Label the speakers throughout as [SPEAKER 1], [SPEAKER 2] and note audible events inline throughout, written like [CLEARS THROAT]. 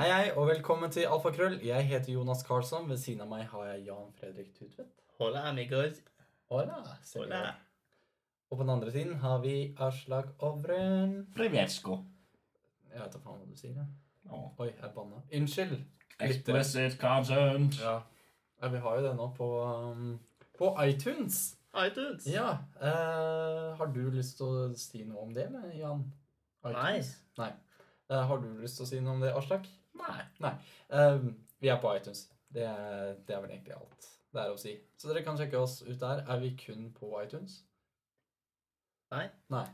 [SPEAKER 1] Hei, hei, og velkommen til Alfakrøll. Jeg heter Jonas Karlsson. Ved siden av meg har jeg Jan Fredrik Tutvedt.
[SPEAKER 2] Hola, amigos.
[SPEAKER 1] Hola, senor.
[SPEAKER 2] Hola.
[SPEAKER 1] Og på den andre siden har vi Aslak Ovren.
[SPEAKER 3] Previesko.
[SPEAKER 1] Jeg vet da faen hva du sier. jeg.
[SPEAKER 3] Ja.
[SPEAKER 1] Oi, jeg banna. Unnskyld. lyttere.
[SPEAKER 3] Explicit consent.
[SPEAKER 1] Ja. ja, vi har jo det nå på, um, på iTunes.
[SPEAKER 2] iTunes.
[SPEAKER 1] Ja. eh, har du lyst til å si noe om det, eller, Jan?
[SPEAKER 2] Nei.
[SPEAKER 1] Nei. Eh, har du lyst til å si noe om det, Aslak?
[SPEAKER 3] Nei.
[SPEAKER 1] Um, vi er på iTunes. Det er, det er vel egentlig alt det er å si. Så dere kan sjekke oss ut der. Er vi kun på iTunes?
[SPEAKER 2] Nei.
[SPEAKER 1] Nei.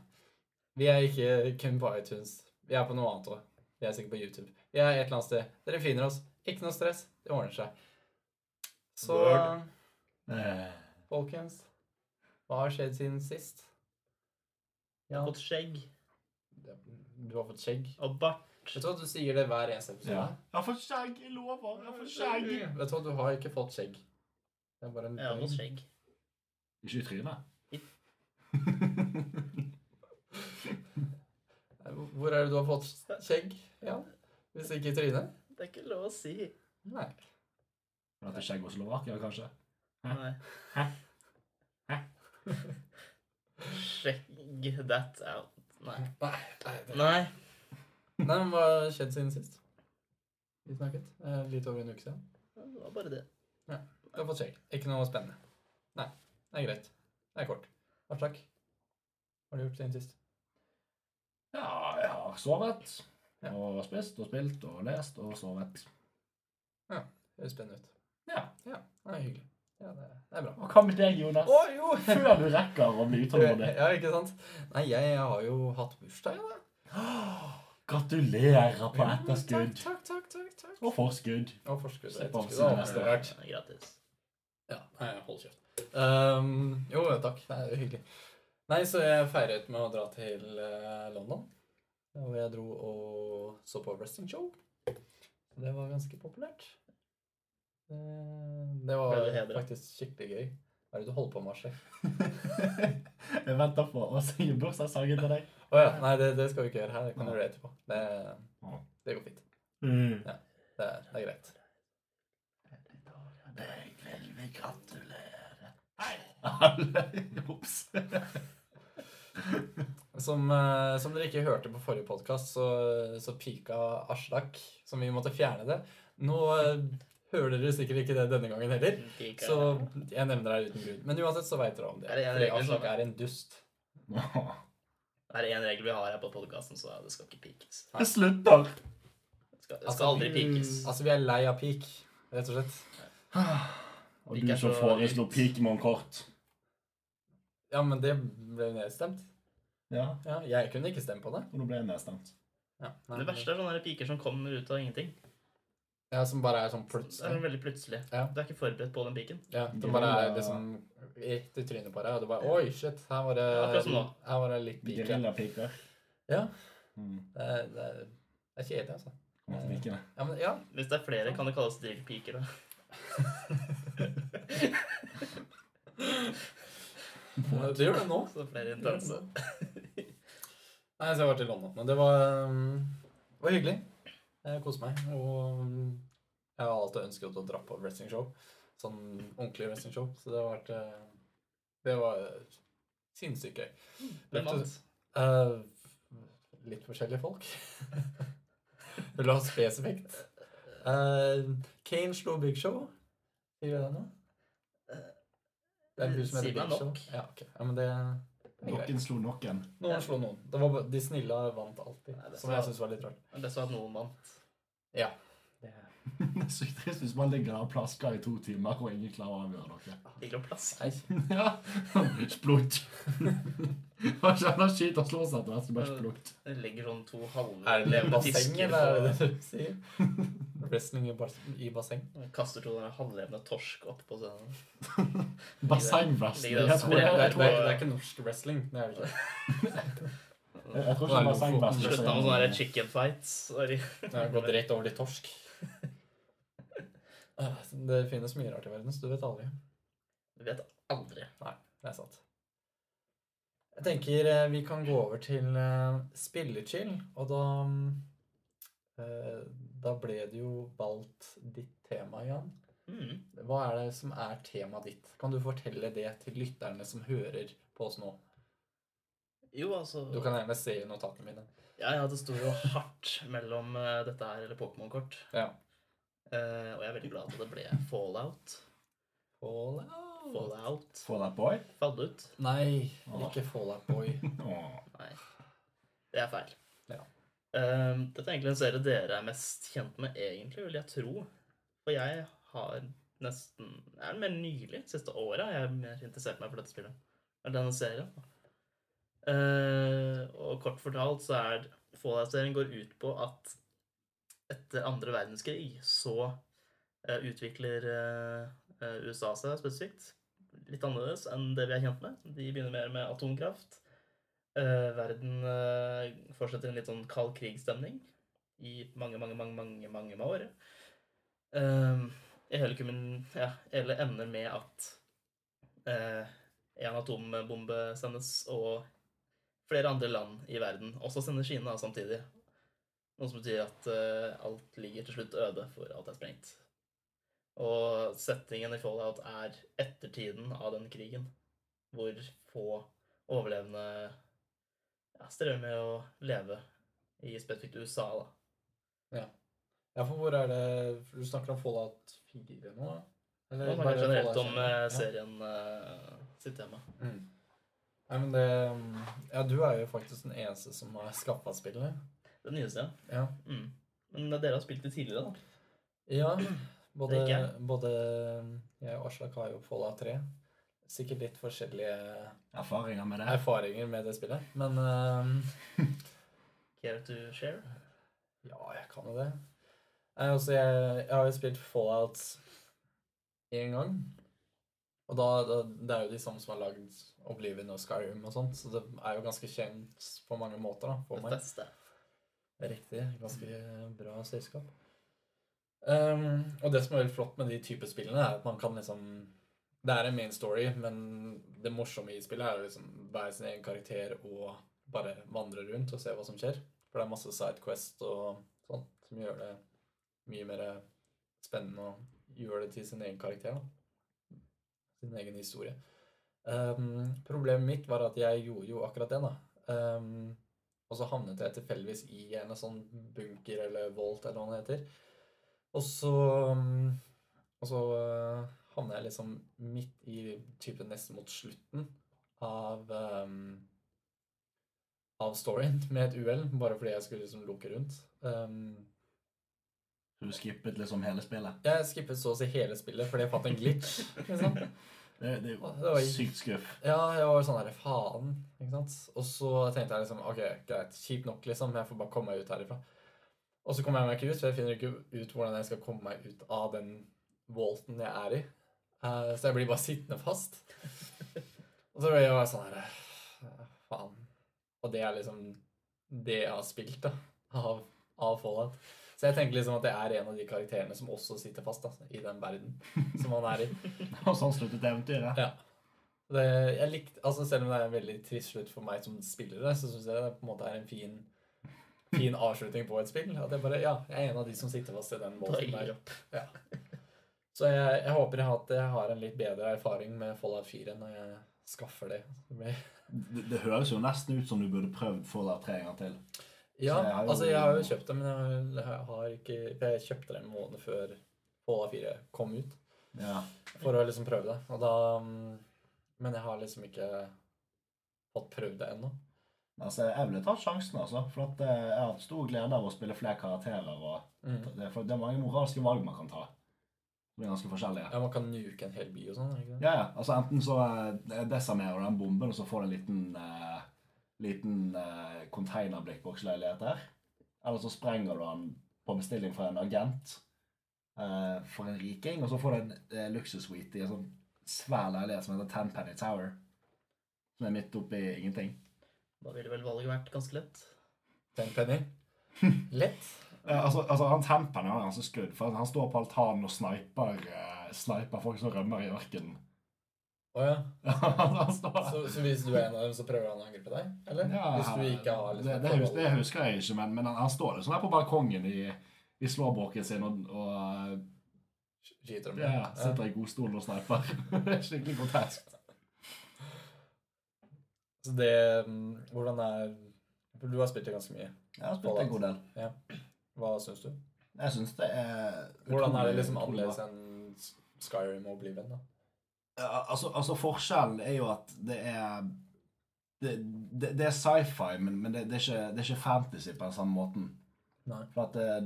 [SPEAKER 1] Vi er ikke kun på iTunes. Vi er på noe annet òg. Vi er sikkert på YouTube. Vi er et eller annet sted. Dere finner oss. Ikke noe stress. Det ordner seg. Så
[SPEAKER 3] Word. Eh,
[SPEAKER 1] folkens, hva har skjedd siden sist?
[SPEAKER 2] Jeg har fått skjegg
[SPEAKER 1] Du har fått skjegg.
[SPEAKER 2] og bart.
[SPEAKER 1] Vet du hva, du sier det hver eneste episode.
[SPEAKER 3] ja. Jeg har fått skjegg, jeg lover. Jeg har fått skjegg.
[SPEAKER 1] Vet du hva, du har ikke fått skjegg. Det er bare en
[SPEAKER 2] Jeg har fått skjegg.
[SPEAKER 3] Ikke i trynet.
[SPEAKER 1] Hvor er det du har fått skjegg? Ja. Hvis ikke i trynet?
[SPEAKER 2] Det er ikke lov å si.
[SPEAKER 1] Nei.
[SPEAKER 3] Men at det er skjegg og Slovakia, kanskje?
[SPEAKER 2] Nei.
[SPEAKER 3] Hæ? Hæ?
[SPEAKER 2] Skjegg that out. Nei.
[SPEAKER 1] Nei, nei, det-
[SPEAKER 2] Nei.
[SPEAKER 1] nei men hva har skjedd siden sist? Vi snakket eh, litt over en uke siden.
[SPEAKER 2] Det var bare det.
[SPEAKER 1] Du har fått skjegg. Ikke noe spennende. Nei. Det er greit. Det er kort. Aslak, hva har du gjort siden sist?
[SPEAKER 3] Ja, jeg har sovet.
[SPEAKER 1] Ja.
[SPEAKER 3] Og spist og spilt og lest og sovet.
[SPEAKER 1] Det høres spennende ut.
[SPEAKER 3] Ja.
[SPEAKER 1] Ja, det er hyggelig. Ja, det er, det er bra.
[SPEAKER 3] Og hva med deg, Jonas?
[SPEAKER 1] Å [LAUGHS] jo!
[SPEAKER 3] Før du rekker å bli utålmodig.
[SPEAKER 1] [LAUGHS]
[SPEAKER 3] [LAUGHS]
[SPEAKER 1] Ja, ikke sant? Nei, jeg har jo hatt bursdag, da.
[SPEAKER 3] Gratulerer på
[SPEAKER 1] Ja,
[SPEAKER 3] etterskudd.
[SPEAKER 1] Takk, takk, takk. takk, takk.
[SPEAKER 3] Og forskudd.
[SPEAKER 1] Og forskudd.
[SPEAKER 3] Slipp
[SPEAKER 1] Etterskudd,
[SPEAKER 3] av,
[SPEAKER 1] ja,
[SPEAKER 3] så
[SPEAKER 1] det
[SPEAKER 3] er
[SPEAKER 1] er rart.
[SPEAKER 2] Ja, Gratis.
[SPEAKER 1] Ja, nei, hold kjeft. Ehm, jo, takk. Det er jo hyggelig. Nei, så jeg feiret med å dra til eh, London. Hvor jeg dro og så på wrestling show. Så Det var ganske populært. Eh, Det var
[SPEAKER 2] Ble du hedret?
[SPEAKER 1] faktisk skikkelig gøy. Hva er det du holder på med, Aslak?
[SPEAKER 3] [LAUGHS] Jeg venter på å synge bursdagssangen til deg.
[SPEAKER 1] Å ja. Nei, det, det skal vi ikke gjøre her. Det kan du gjøre etterpå. Det,
[SPEAKER 3] Ja.
[SPEAKER 1] det går fint.
[SPEAKER 3] Mm.
[SPEAKER 1] Det, er- det er greit.
[SPEAKER 3] Jeg vil vi gratulere Hei, alle Ops.
[SPEAKER 1] Som, eh, som dere ikke hørte på forrige podkast, så, så pika Aslak, som vi måtte fjerne det. Nå eh, hører dere sikkert ikke det denne gangen heller,
[SPEAKER 2] Ikke-
[SPEAKER 1] så jeg nevner det her uten grunn. Men uansett så veit dere om det.
[SPEAKER 2] Er det en
[SPEAKER 1] Fordi
[SPEAKER 2] regel som-
[SPEAKER 1] Aslak er en dust.
[SPEAKER 2] Det er én regel vi har her på podkasten, så det skal ikke pikes.
[SPEAKER 3] Jeg slutter.
[SPEAKER 2] Det skal, det
[SPEAKER 1] Altså,
[SPEAKER 2] skal aldri
[SPEAKER 1] mm.
[SPEAKER 2] pikes.
[SPEAKER 1] Altså, vi er lei av pik, rett og slett.
[SPEAKER 3] Ah, Og du som foreslo Pikemon-kort.
[SPEAKER 1] Ja, men det ble jo nedstemt.
[SPEAKER 3] Ja,
[SPEAKER 1] Ja, jeg kunne ikke stemme på det.
[SPEAKER 3] og nå ble jeg nedstemt.
[SPEAKER 1] Ja, nei,
[SPEAKER 2] Det verste er sånne der piker som kommer ut av ingenting.
[SPEAKER 1] Ja, Som bare er sånn
[SPEAKER 2] Det er
[SPEAKER 1] plutselig.
[SPEAKER 2] veldig plutselig.
[SPEAKER 1] Ja.
[SPEAKER 2] Du er ikke forberedt på den piken.
[SPEAKER 1] Ja, Som bare er liksom rett i trynet på deg, og du bare Oi, shit, her var det,
[SPEAKER 2] Ja, akkurat som nå.
[SPEAKER 1] her var det litt pik. ja.
[SPEAKER 3] Gerillapiker.
[SPEAKER 1] Ja.
[SPEAKER 3] Mm.
[SPEAKER 1] Det er, det er, det er kjedelig, altså.
[SPEAKER 3] kommer til pikene.
[SPEAKER 1] Ja, men, ja.
[SPEAKER 2] Hvis det er flere, kan det kalles drillpiker. da.
[SPEAKER 1] Det gjør
[SPEAKER 2] [LAUGHS]
[SPEAKER 1] det nå.
[SPEAKER 2] Så flere intense.
[SPEAKER 1] Mm. Nei, så jeg var til London. Men det var, um, det var hyggelig. Jeg koste meg. Og um, jeg har alltid ønsket å dra på wrestlingshow. Sånn ordentlig wrestlingshow. Så det har vært eh, Det var sinnssykt gøy.
[SPEAKER 2] Hvem vant?
[SPEAKER 1] Eh, litt forskjellige folk. [LAUGHS] Vil du ha spesifikt? Eh, Kane slo Big Show. Sier du det nå? Det er en hus som
[SPEAKER 2] Si
[SPEAKER 1] heter
[SPEAKER 2] meg
[SPEAKER 1] Big Show.
[SPEAKER 2] nok.
[SPEAKER 1] Ja, ok. Ja, men det det er greit.
[SPEAKER 3] Noen slo noen.
[SPEAKER 1] Noen slo noen. Det var bare, de snille vant alltid.
[SPEAKER 2] Nei, det
[SPEAKER 1] som
[SPEAKER 2] var-
[SPEAKER 1] jeg syns var litt rart.
[SPEAKER 2] Det som at noen vant.
[SPEAKER 3] [LAUGHS] Det er sykt trist hvis man ligger der og plasker i to timer og ingen klarer å avgjøre noe. [LAUGHS]
[SPEAKER 2] Ligger og plasker.
[SPEAKER 1] Nei.
[SPEAKER 3] Ja. [LAUGHS] Splutt. Man kjenner skyt og slår seg etter hvert. så det Bare splutt.
[SPEAKER 2] Det ligger sånn to
[SPEAKER 1] Er det
[SPEAKER 2] [LAUGHS] halvlevende
[SPEAKER 1] basseng,
[SPEAKER 2] fisker
[SPEAKER 1] eller er det
[SPEAKER 2] på-
[SPEAKER 1] det du sier? Wrestling i, bas i basseng?
[SPEAKER 2] Kaster to sånne halvlevende torsk opp på scenen.
[SPEAKER 3] Bassengvest.
[SPEAKER 2] Ligger der
[SPEAKER 3] Jeg
[SPEAKER 2] og
[SPEAKER 3] tror
[SPEAKER 1] Det
[SPEAKER 3] jeg,
[SPEAKER 1] er,
[SPEAKER 2] sprer-
[SPEAKER 3] jeg
[SPEAKER 1] det,
[SPEAKER 3] tror
[SPEAKER 1] er, det er ikke norsk wrestling. Det er det ikke.
[SPEAKER 3] jeg tror ikke bassengvest
[SPEAKER 1] sånn
[SPEAKER 3] er
[SPEAKER 2] Slutta med sånne her chicken fights. og de-
[SPEAKER 1] Det har gått rett over til [LAUGHS] torsk. Ah, Det finnes mye rart i verden, så du vet aldri.
[SPEAKER 2] Du vet aldri.
[SPEAKER 1] Det er sant. Jeg tenker eh, vi kan gå over til eh, spillechill, og da mm, Eh, Da ble det jo valgt ditt tema, Jan.
[SPEAKER 2] Mm.
[SPEAKER 1] Hva er det som er temaet ditt? Kan du fortelle det til lytterne som hører på oss nå?
[SPEAKER 2] Jo, altså
[SPEAKER 1] Du kan gjerne se i notatene mine.
[SPEAKER 2] Ja, ja, det står jo hardt mellom eh, dette her eller Pokémon-kort.
[SPEAKER 1] Ja.
[SPEAKER 2] Eh, og jeg er veldig glad at det ble Fallout.
[SPEAKER 1] Fallout.
[SPEAKER 2] Fallout.
[SPEAKER 3] Få deg boy.
[SPEAKER 2] Fallout.
[SPEAKER 1] Nei, ikke Fallout Boy.
[SPEAKER 3] Åh.
[SPEAKER 2] Nei. Det er feil.
[SPEAKER 1] Ja.
[SPEAKER 2] Eh, dette er egentlig en serie dere er mest kjent med, egentlig, vil jeg tro. For jeg har nesten Er det mer nylig? Siste året har jeg mer interessert meg for dette spillet. Eller denne serien. da. Eh, og kort fortalt så er det- Fallout-serien går ut på at etter andre verdenskrig så eh, utvikler eh, eh, USA seg spesifikt litt annerledes enn det vi er kjent med. De begynner mer med atomkraft. Eh, verden eh, fortsetter en litt sånn kald krigsstemning i mange, mange, mange, mange, mange år. Um, hele, kummen, ja, hele ender med at eh, en atombombe sendes, og flere andre land i verden også sender sine da, samtidig. Noe som betyr at eh, alt ligger til slutt øde, for alt er sprengt. Og settingen i Fallout er ettertiden av den krigen, hvor få overlevende ja, strever med å leve i spesifikt USA, da.
[SPEAKER 1] Ja, for hvor er det for Du snakker om Fallout 4 nå? da? Eller
[SPEAKER 2] Nå snakker jeg generelt
[SPEAKER 1] Fallout
[SPEAKER 2] om eh,
[SPEAKER 1] generelt?
[SPEAKER 2] serien eh, sitt tema.
[SPEAKER 1] Ja. Mm. Nei, men det Ja, du er jo faktisk den eneste som har skaffa spillet.
[SPEAKER 2] Den nyeste,
[SPEAKER 1] Ja.
[SPEAKER 2] ja. Mm. Men dere har spilt det tidligere, da.
[SPEAKER 1] ja både,
[SPEAKER 2] Det er ikke
[SPEAKER 1] både jeg og Aslak har jo Fallout 3. Sikkert litt forskjellige
[SPEAKER 3] Erfaringer med det.
[SPEAKER 1] erfaringer med det spillet, men eh,
[SPEAKER 2] Care to share?
[SPEAKER 1] Ja, jeg kan jo det. Nei, altså, jeg, jeg har jo spilt Fallout én gang. Og da, da, det er jo de samme som har lagd Oblivion og Skyrim og sånt, så det er jo ganske kjent på mange måter. da, for
[SPEAKER 2] Det
[SPEAKER 1] meg.
[SPEAKER 2] beste.
[SPEAKER 1] Riktig. Ganske bra selskap. Ehm, og det som er veldig flott med de typer spillene, er at man kan liksom Det er en main story, men det morsomme i spillet er å liksom være sin egen karakter og bare vandre rundt og se hva som skjer. For det er masse sidequest og sånt som gjør det mye mer spennende og gjør det til sin egen karakter. Da. Sin egen historie. Ehm, problemet mitt var at jeg gjorde jo akkurat det, da. Ehm, og så havnet jeg tilfeldigvis i en sånn bunker eller volt eller hva det heter. Og så mm, Og så øh, havnet jeg liksom midt i type nesten mot slutten av ehm, Av storyen med et uhell, bare fordi jeg skulle liksom loke rundt. Ehm,
[SPEAKER 3] Du skippet liksom hele spillet.
[SPEAKER 1] jeg skippet så å si hele spillet fordi jeg fant en glitch. Liksom.
[SPEAKER 3] Det, det
[SPEAKER 1] Å, det
[SPEAKER 3] er
[SPEAKER 1] var-
[SPEAKER 3] jo sykt skuff. [LAUGHS]
[SPEAKER 1] Ja, jeg var sånn der, faen, ikke sant? Og så tenkte jeg liksom, ok, greit, kjipt nok liksom, jeg får bare komme meg ut herifra. Og så kommer jeg meg ikke ut, for jeg finner ikke ut hvordan jeg skal komme meg ut av den volten jeg er i. Eh, så jeg blir bare sittende fast. Og så ble jeg bare sånn her, eh, faen. Og det er liksom det jeg har spilt da, av, av Fallout. Så jeg tenker liksom at jeg er en av de karakterene som også sitter fast da, i den verden som man er i.
[SPEAKER 3] Og sånn sluttet eventyret.
[SPEAKER 1] Ja. Det, jeg likte, altså selv om det er en veldig trist slutt for meg som spiller det, så syns jeg det på en måte er en fin, fin avslutning på et spill. At jeg bare, ja, jeg er en av de som sitter fast i den
[SPEAKER 2] Bare
[SPEAKER 1] båten
[SPEAKER 2] gir
[SPEAKER 1] der. Ja. Så jeg, jeg håper jeg har, at jeg har en litt bedre erfaring med Fallout 4 når jeg skaffer det. Det blir-
[SPEAKER 3] Det, det høres jo nesten ut som du burde prøvd Fallout 3 en gang til.
[SPEAKER 1] Ja,
[SPEAKER 3] Så jeg har jo-
[SPEAKER 1] altså jeg har jo kjøpt det, men jeg har, jeg har ikke for Jeg kjøpte det en måned før Fallout 4 kom ut,
[SPEAKER 3] Ja.
[SPEAKER 1] for å liksom prøve det. Og da mm, Men jeg har liksom ikke fått prøvd det ennå.
[SPEAKER 3] Altså, jeg ville tatt sjansen, altså. For at eh, jeg har hatt stor glede av å spille flere karakterer. Og
[SPEAKER 1] Mm.
[SPEAKER 3] det, er- for det er mange moralske valg man kan ta. Som er ganske forskjellige.
[SPEAKER 1] Ja, man kan nuke en hel by og sånn, er det ikke det?
[SPEAKER 3] Ja, ja. Altså, enten så eh, desarmerer du den bomben, og så får du en liten, eh, liten eh, containerblikkboksleilighet der. Eller så sprenger du den på bestilling fra en agent eh, for en riking, og så får du en eh, luksussuite i en sånn svær leilighet som heter Tenpenny Tower. Som er midt oppi ingenting.
[SPEAKER 2] Da ville vel valget vært ganske lett.
[SPEAKER 1] Ten penny.
[SPEAKER 3] [LAUGHS]
[SPEAKER 1] Lett.
[SPEAKER 3] Ja, altså, altså Han Tempen er ganske skudd, for han står på altanen og sniper, eh, sniper folk som rømmer i ørkenen. [LAUGHS]
[SPEAKER 1] Å ja.
[SPEAKER 3] Han står
[SPEAKER 1] Så, så hvis du er en av dem, så prøver han å angripe deg? Eller? hvis du ikke har liksom,
[SPEAKER 3] det, det,
[SPEAKER 1] et
[SPEAKER 3] hus- det
[SPEAKER 1] forhold.
[SPEAKER 3] husker jeg ikke, men, men han, han står sånn her på balkongen i, i slåbroken sin og, og eh,
[SPEAKER 1] Skyter dem.
[SPEAKER 3] ja, sitter i godstolen og sniper. [LAUGHS] Det er Skikkelig grotesk.
[SPEAKER 1] Så det mm, Hvordan er for Du har spilt det ganske mye.
[SPEAKER 3] Jeg har
[SPEAKER 1] spilt en god
[SPEAKER 3] del.
[SPEAKER 1] Hva syns du?
[SPEAKER 3] Jeg syns det er
[SPEAKER 1] Hvordan er det liksom
[SPEAKER 3] utrolig bra.
[SPEAKER 1] annerledes enn Skyrim og Oblivion? da?
[SPEAKER 3] Ja, altså, altså forskjellen er jo at det er Det, det, det er sci-fi, men, men det, det, er ikke, det er ikke fantasy på den samme måten.
[SPEAKER 1] Nei.
[SPEAKER 3] For at det,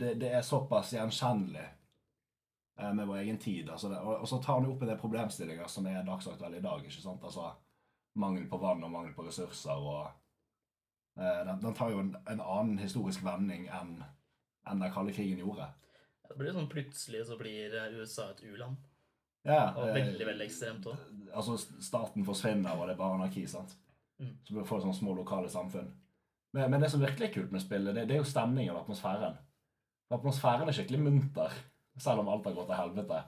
[SPEAKER 3] det, det er såpass gjenkjennelig eh, med vår egen tid. Altså det, og, og så tar han jo opp i det problemstillinger som er dagsaktuelle i dag. ikke sant? Altså Mangel på vann og mangel på ressurser. og eh, den, den tar jo en, en annen historisk vending enn enn den kalde krigen gjorde.
[SPEAKER 2] Det blir jo sånn plutselig så blir eh, USA et u-land.
[SPEAKER 3] Ja,
[SPEAKER 2] Og
[SPEAKER 3] eh,
[SPEAKER 2] veldig, veldig ekstremt òg.
[SPEAKER 3] altså staten forsvinner, og det er bare anarki. sant?
[SPEAKER 2] Mm.
[SPEAKER 3] Så du får sånne små lokale samfunn. Men, men det som virkelig er kult med spillet, det, det er jo stemningen og atmosfæren. For Atmosfæren er skikkelig munter, selv om alt har gått til helvete.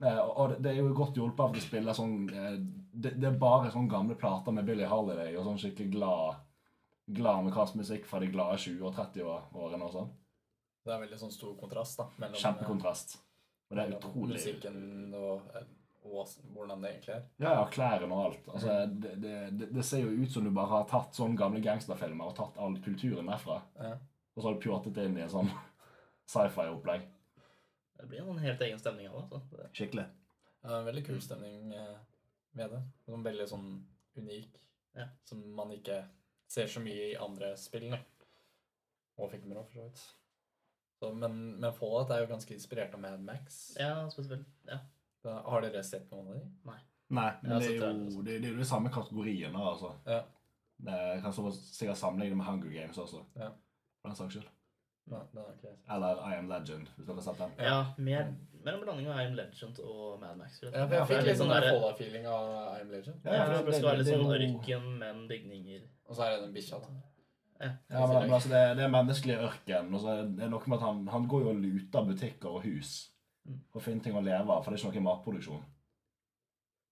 [SPEAKER 3] Eh, og- og det, det er jo godt hjulpet av at de spiller sånn eh, det, det er bare sånne gamle plater med Billie Holiday og sånn skikkelig glad glad amerikansk musikk fra de glade 20- og 30-årene og sånn.
[SPEAKER 1] Det er veldig sånn stor kontrast da, mellom eh,
[SPEAKER 3] Kjempekontrast. Og det er utrolig
[SPEAKER 1] musikken og, eh, og s- hvordan det egentlig er.
[SPEAKER 3] Ja, ja, klærne og alt. Altså, det, det, det, det ser jo ut som du bare har tatt sånne gamle gangsterfilmer og tatt all kulturen derfra.
[SPEAKER 1] Ja.
[SPEAKER 3] Og så har du pjåtet det inn i en sånn [LAUGHS] sci-fi-opplegg.
[SPEAKER 2] Det blir en sånn helt egen stemning av det. altså. Det-
[SPEAKER 3] Skikkelig.
[SPEAKER 1] Det er en veldig kul stemning eh, med det. Sånn veldig sånn unik,
[SPEAKER 2] Ja.
[SPEAKER 1] som man ikke ser så mye i andre spill. da. Og filmer òg, for så vidt. Så, men, men Fallout er jo ganske inspirert av Mad Max.
[SPEAKER 2] Ja, spesielt. Ja.
[SPEAKER 1] Da, har dere sett noen av de?
[SPEAKER 3] Nei, men
[SPEAKER 2] Ja,
[SPEAKER 3] det,
[SPEAKER 2] så
[SPEAKER 3] er
[SPEAKER 2] tror jeg
[SPEAKER 3] jo, det, det er jo de samme kategoriene, altså.
[SPEAKER 1] Ja.
[SPEAKER 3] Det jeg kan så- sikkert sammenligne med Hunger Games også.
[SPEAKER 1] Ja.
[SPEAKER 3] For den saks skyld.
[SPEAKER 1] Nei, det har jeg ikke jeg sett.
[SPEAKER 3] Eller I Am Legend, hvis dere har sett den.
[SPEAKER 1] Ja.
[SPEAKER 2] ja mer, mer en blanding av I'm Legend og Mad Max. vil jeg
[SPEAKER 1] Ja, for jeg
[SPEAKER 2] si. Det er
[SPEAKER 1] fikk litt sånn
[SPEAKER 2] der-
[SPEAKER 1] der Fallout-feeling av I'm Legend.
[SPEAKER 2] Ja, for det skal være litt sånn
[SPEAKER 3] det er jo-
[SPEAKER 2] ørken, men bygninger.
[SPEAKER 1] Og så er det den bikkja, da.
[SPEAKER 3] Ja, men, men altså, det, er- det er menneskelig ørken. Og så er det noe med at han, han går jo og luter butikker og hus
[SPEAKER 2] Mm.
[SPEAKER 3] for å finne ting å leve av, for det er ikke noe matproduksjon.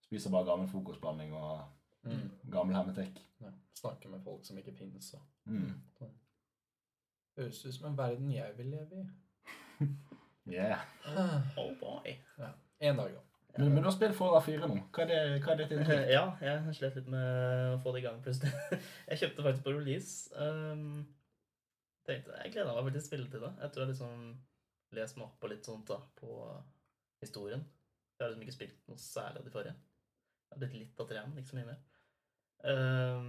[SPEAKER 3] Spiser bare gammel frokostblanding og
[SPEAKER 1] Mm.
[SPEAKER 3] gammel hermetikk.
[SPEAKER 1] Ja. Snakker med folk som ikke finnes. Og.
[SPEAKER 3] Mm.
[SPEAKER 1] Høres ut som en verden jeg vil leve i.
[SPEAKER 3] Yeah.
[SPEAKER 2] Oh boy.
[SPEAKER 1] En dag, da.
[SPEAKER 3] Men, men du har spilt Fallout 4 nå. Hva er det, hva er ditt
[SPEAKER 2] [LAUGHS]
[SPEAKER 3] inntrykk?
[SPEAKER 2] Eh, Ja, jeg slet litt med å få det i gang plutselig. [LAUGHS] Jeg kjøpte faktisk på release. Um, tenkte, jeg gleda meg veldig til å spille til det. Jeg tror jeg liksom leste meg opp på litt sånt da, på historien. Jeg har liksom ikke spilt noe særlig av de forrige. Jeg har blitt litt av treen, ikke så mye mer. Um,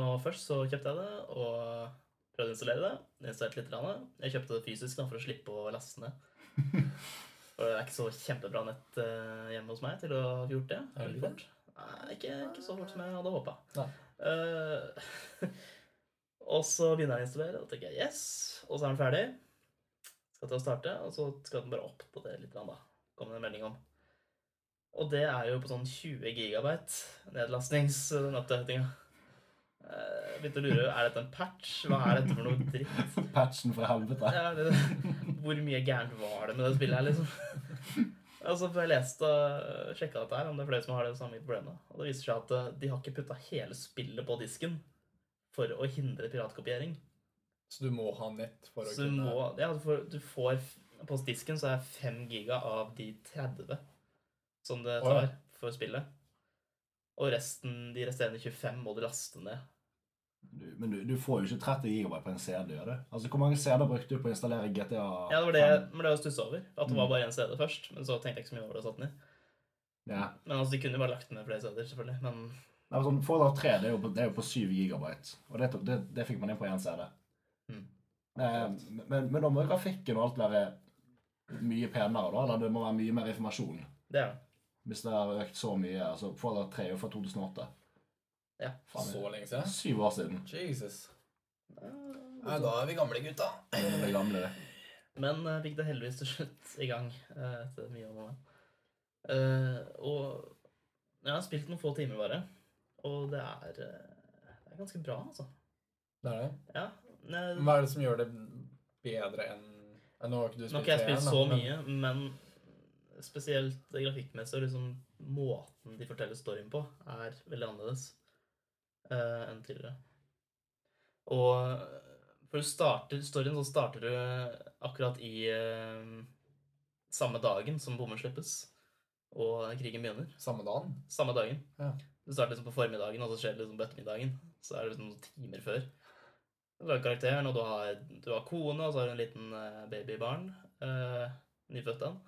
[SPEAKER 2] og først så kjøpte jeg det, og prøvde å installere det. Installerte litt. grann. Jeg kjøpte det fysisk da, for å slippe å laste ned.
[SPEAKER 1] [LAUGHS]
[SPEAKER 2] Og det er ikke så kjempebra nett eh, hjemme hos meg til å ha gjort det.
[SPEAKER 1] Er det
[SPEAKER 2] Veldig
[SPEAKER 1] ikke
[SPEAKER 2] fort. Nei, ikke, ikke så fort som jeg hadde håpa.
[SPEAKER 1] Nei.
[SPEAKER 2] [LAUGHS] og så begynner jeg å installere, og da tenker jeg yes. Og så er den ferdig. Skal til å starte, og så skal den bare oppdatere litt, grann, da. Kommer det en melding om. Og det er jo på sånn 20 gigabyte nedlastningsoppdateringa. Eh, Begynte å lure er dette en patch. Hva er dette for noe dritt?
[SPEAKER 3] Patchen fra helvete.
[SPEAKER 2] Ja, det, hvor mye gærent var det med det spillet her, liksom? [LAUGHS] Altså, for Jeg leste og sjekka dette her, om det er flere som har det samme problemet. Og det viser seg at eh, de har ikke putta hele spillet på disken for å hindre piratkopiering.
[SPEAKER 1] Så du må ha nett for å
[SPEAKER 2] Så du
[SPEAKER 1] kunne
[SPEAKER 2] må Ja, du får, du får På disken så er 5 giga av de 30 som det
[SPEAKER 1] Å, ja.
[SPEAKER 2] tar for spillet. Og resten, de resterende 25 må du laste ned.
[SPEAKER 3] Du, men du, du får jo ikke 30 gigabyte på en CD, gjør du? Altså, hvor mange CD brukte du på å installere GTA?
[SPEAKER 2] Ja, det var det, men det var stussa over. At det
[SPEAKER 1] Mm.
[SPEAKER 2] var bare én CD først. Men så tenkte jeg ikke så mye over det og satte den i.
[SPEAKER 3] Ja.
[SPEAKER 2] Men altså, de kunne jo bare lagt den ned flere steder, selvfølgelig. Men
[SPEAKER 3] Nei, men sånn, Fallout 3 det er, jo på, det er jo på 7 gigabyte, og det, tok- det, det fikk man inn på én CD.
[SPEAKER 2] Mm.
[SPEAKER 3] Eh, men, men da må jo grafikken og alt være mye penere, da? Eller det må være mye mer informasjon?
[SPEAKER 2] det er det.
[SPEAKER 3] Hvis det har økt så mye. altså Fallout 3 er jo fra 2008.
[SPEAKER 2] Ja.
[SPEAKER 3] Faen,
[SPEAKER 1] Så
[SPEAKER 3] det
[SPEAKER 1] lenge
[SPEAKER 3] er
[SPEAKER 1] siden?
[SPEAKER 3] syv år siden.
[SPEAKER 1] Jesus.
[SPEAKER 2] Eh,
[SPEAKER 1] Nei, da er vi gamle gutta.
[SPEAKER 3] Det er det gamle.
[SPEAKER 2] Men jeg fikk det heldigvis til slutt i gang eh, etter mye om og men. Eh, Og jeg har spilt noen få timer bare, og det er, eh, det er ganske bra, altså.
[SPEAKER 1] Det er det.
[SPEAKER 2] Ja. Nei,
[SPEAKER 1] Hva er det som gjør det bedre enn ja, Nå har ikke du
[SPEAKER 2] Nå har ikke jeg
[SPEAKER 1] treeren,
[SPEAKER 2] spilt
[SPEAKER 1] da,
[SPEAKER 2] så
[SPEAKER 1] men-
[SPEAKER 2] mye, men Spesielt grafikkmessig og liksom måten de forteller storyen på, er veldig annerledes eh, enn tidligere. Og for du starter storyen, så starter du akkurat i eh, samme dagen som bommen slippes og krigen begynner.
[SPEAKER 1] Samme dagen?
[SPEAKER 2] Samme dagen.
[SPEAKER 1] Ja.
[SPEAKER 2] Du starter liksom på formiddagen, og så skjer det liksom på ettermiddagen. Så er det liksom noen timer før. Du har karakteren, og du har, du har kone, og så har du en liten eh, babybarn. eh, nyfødt en.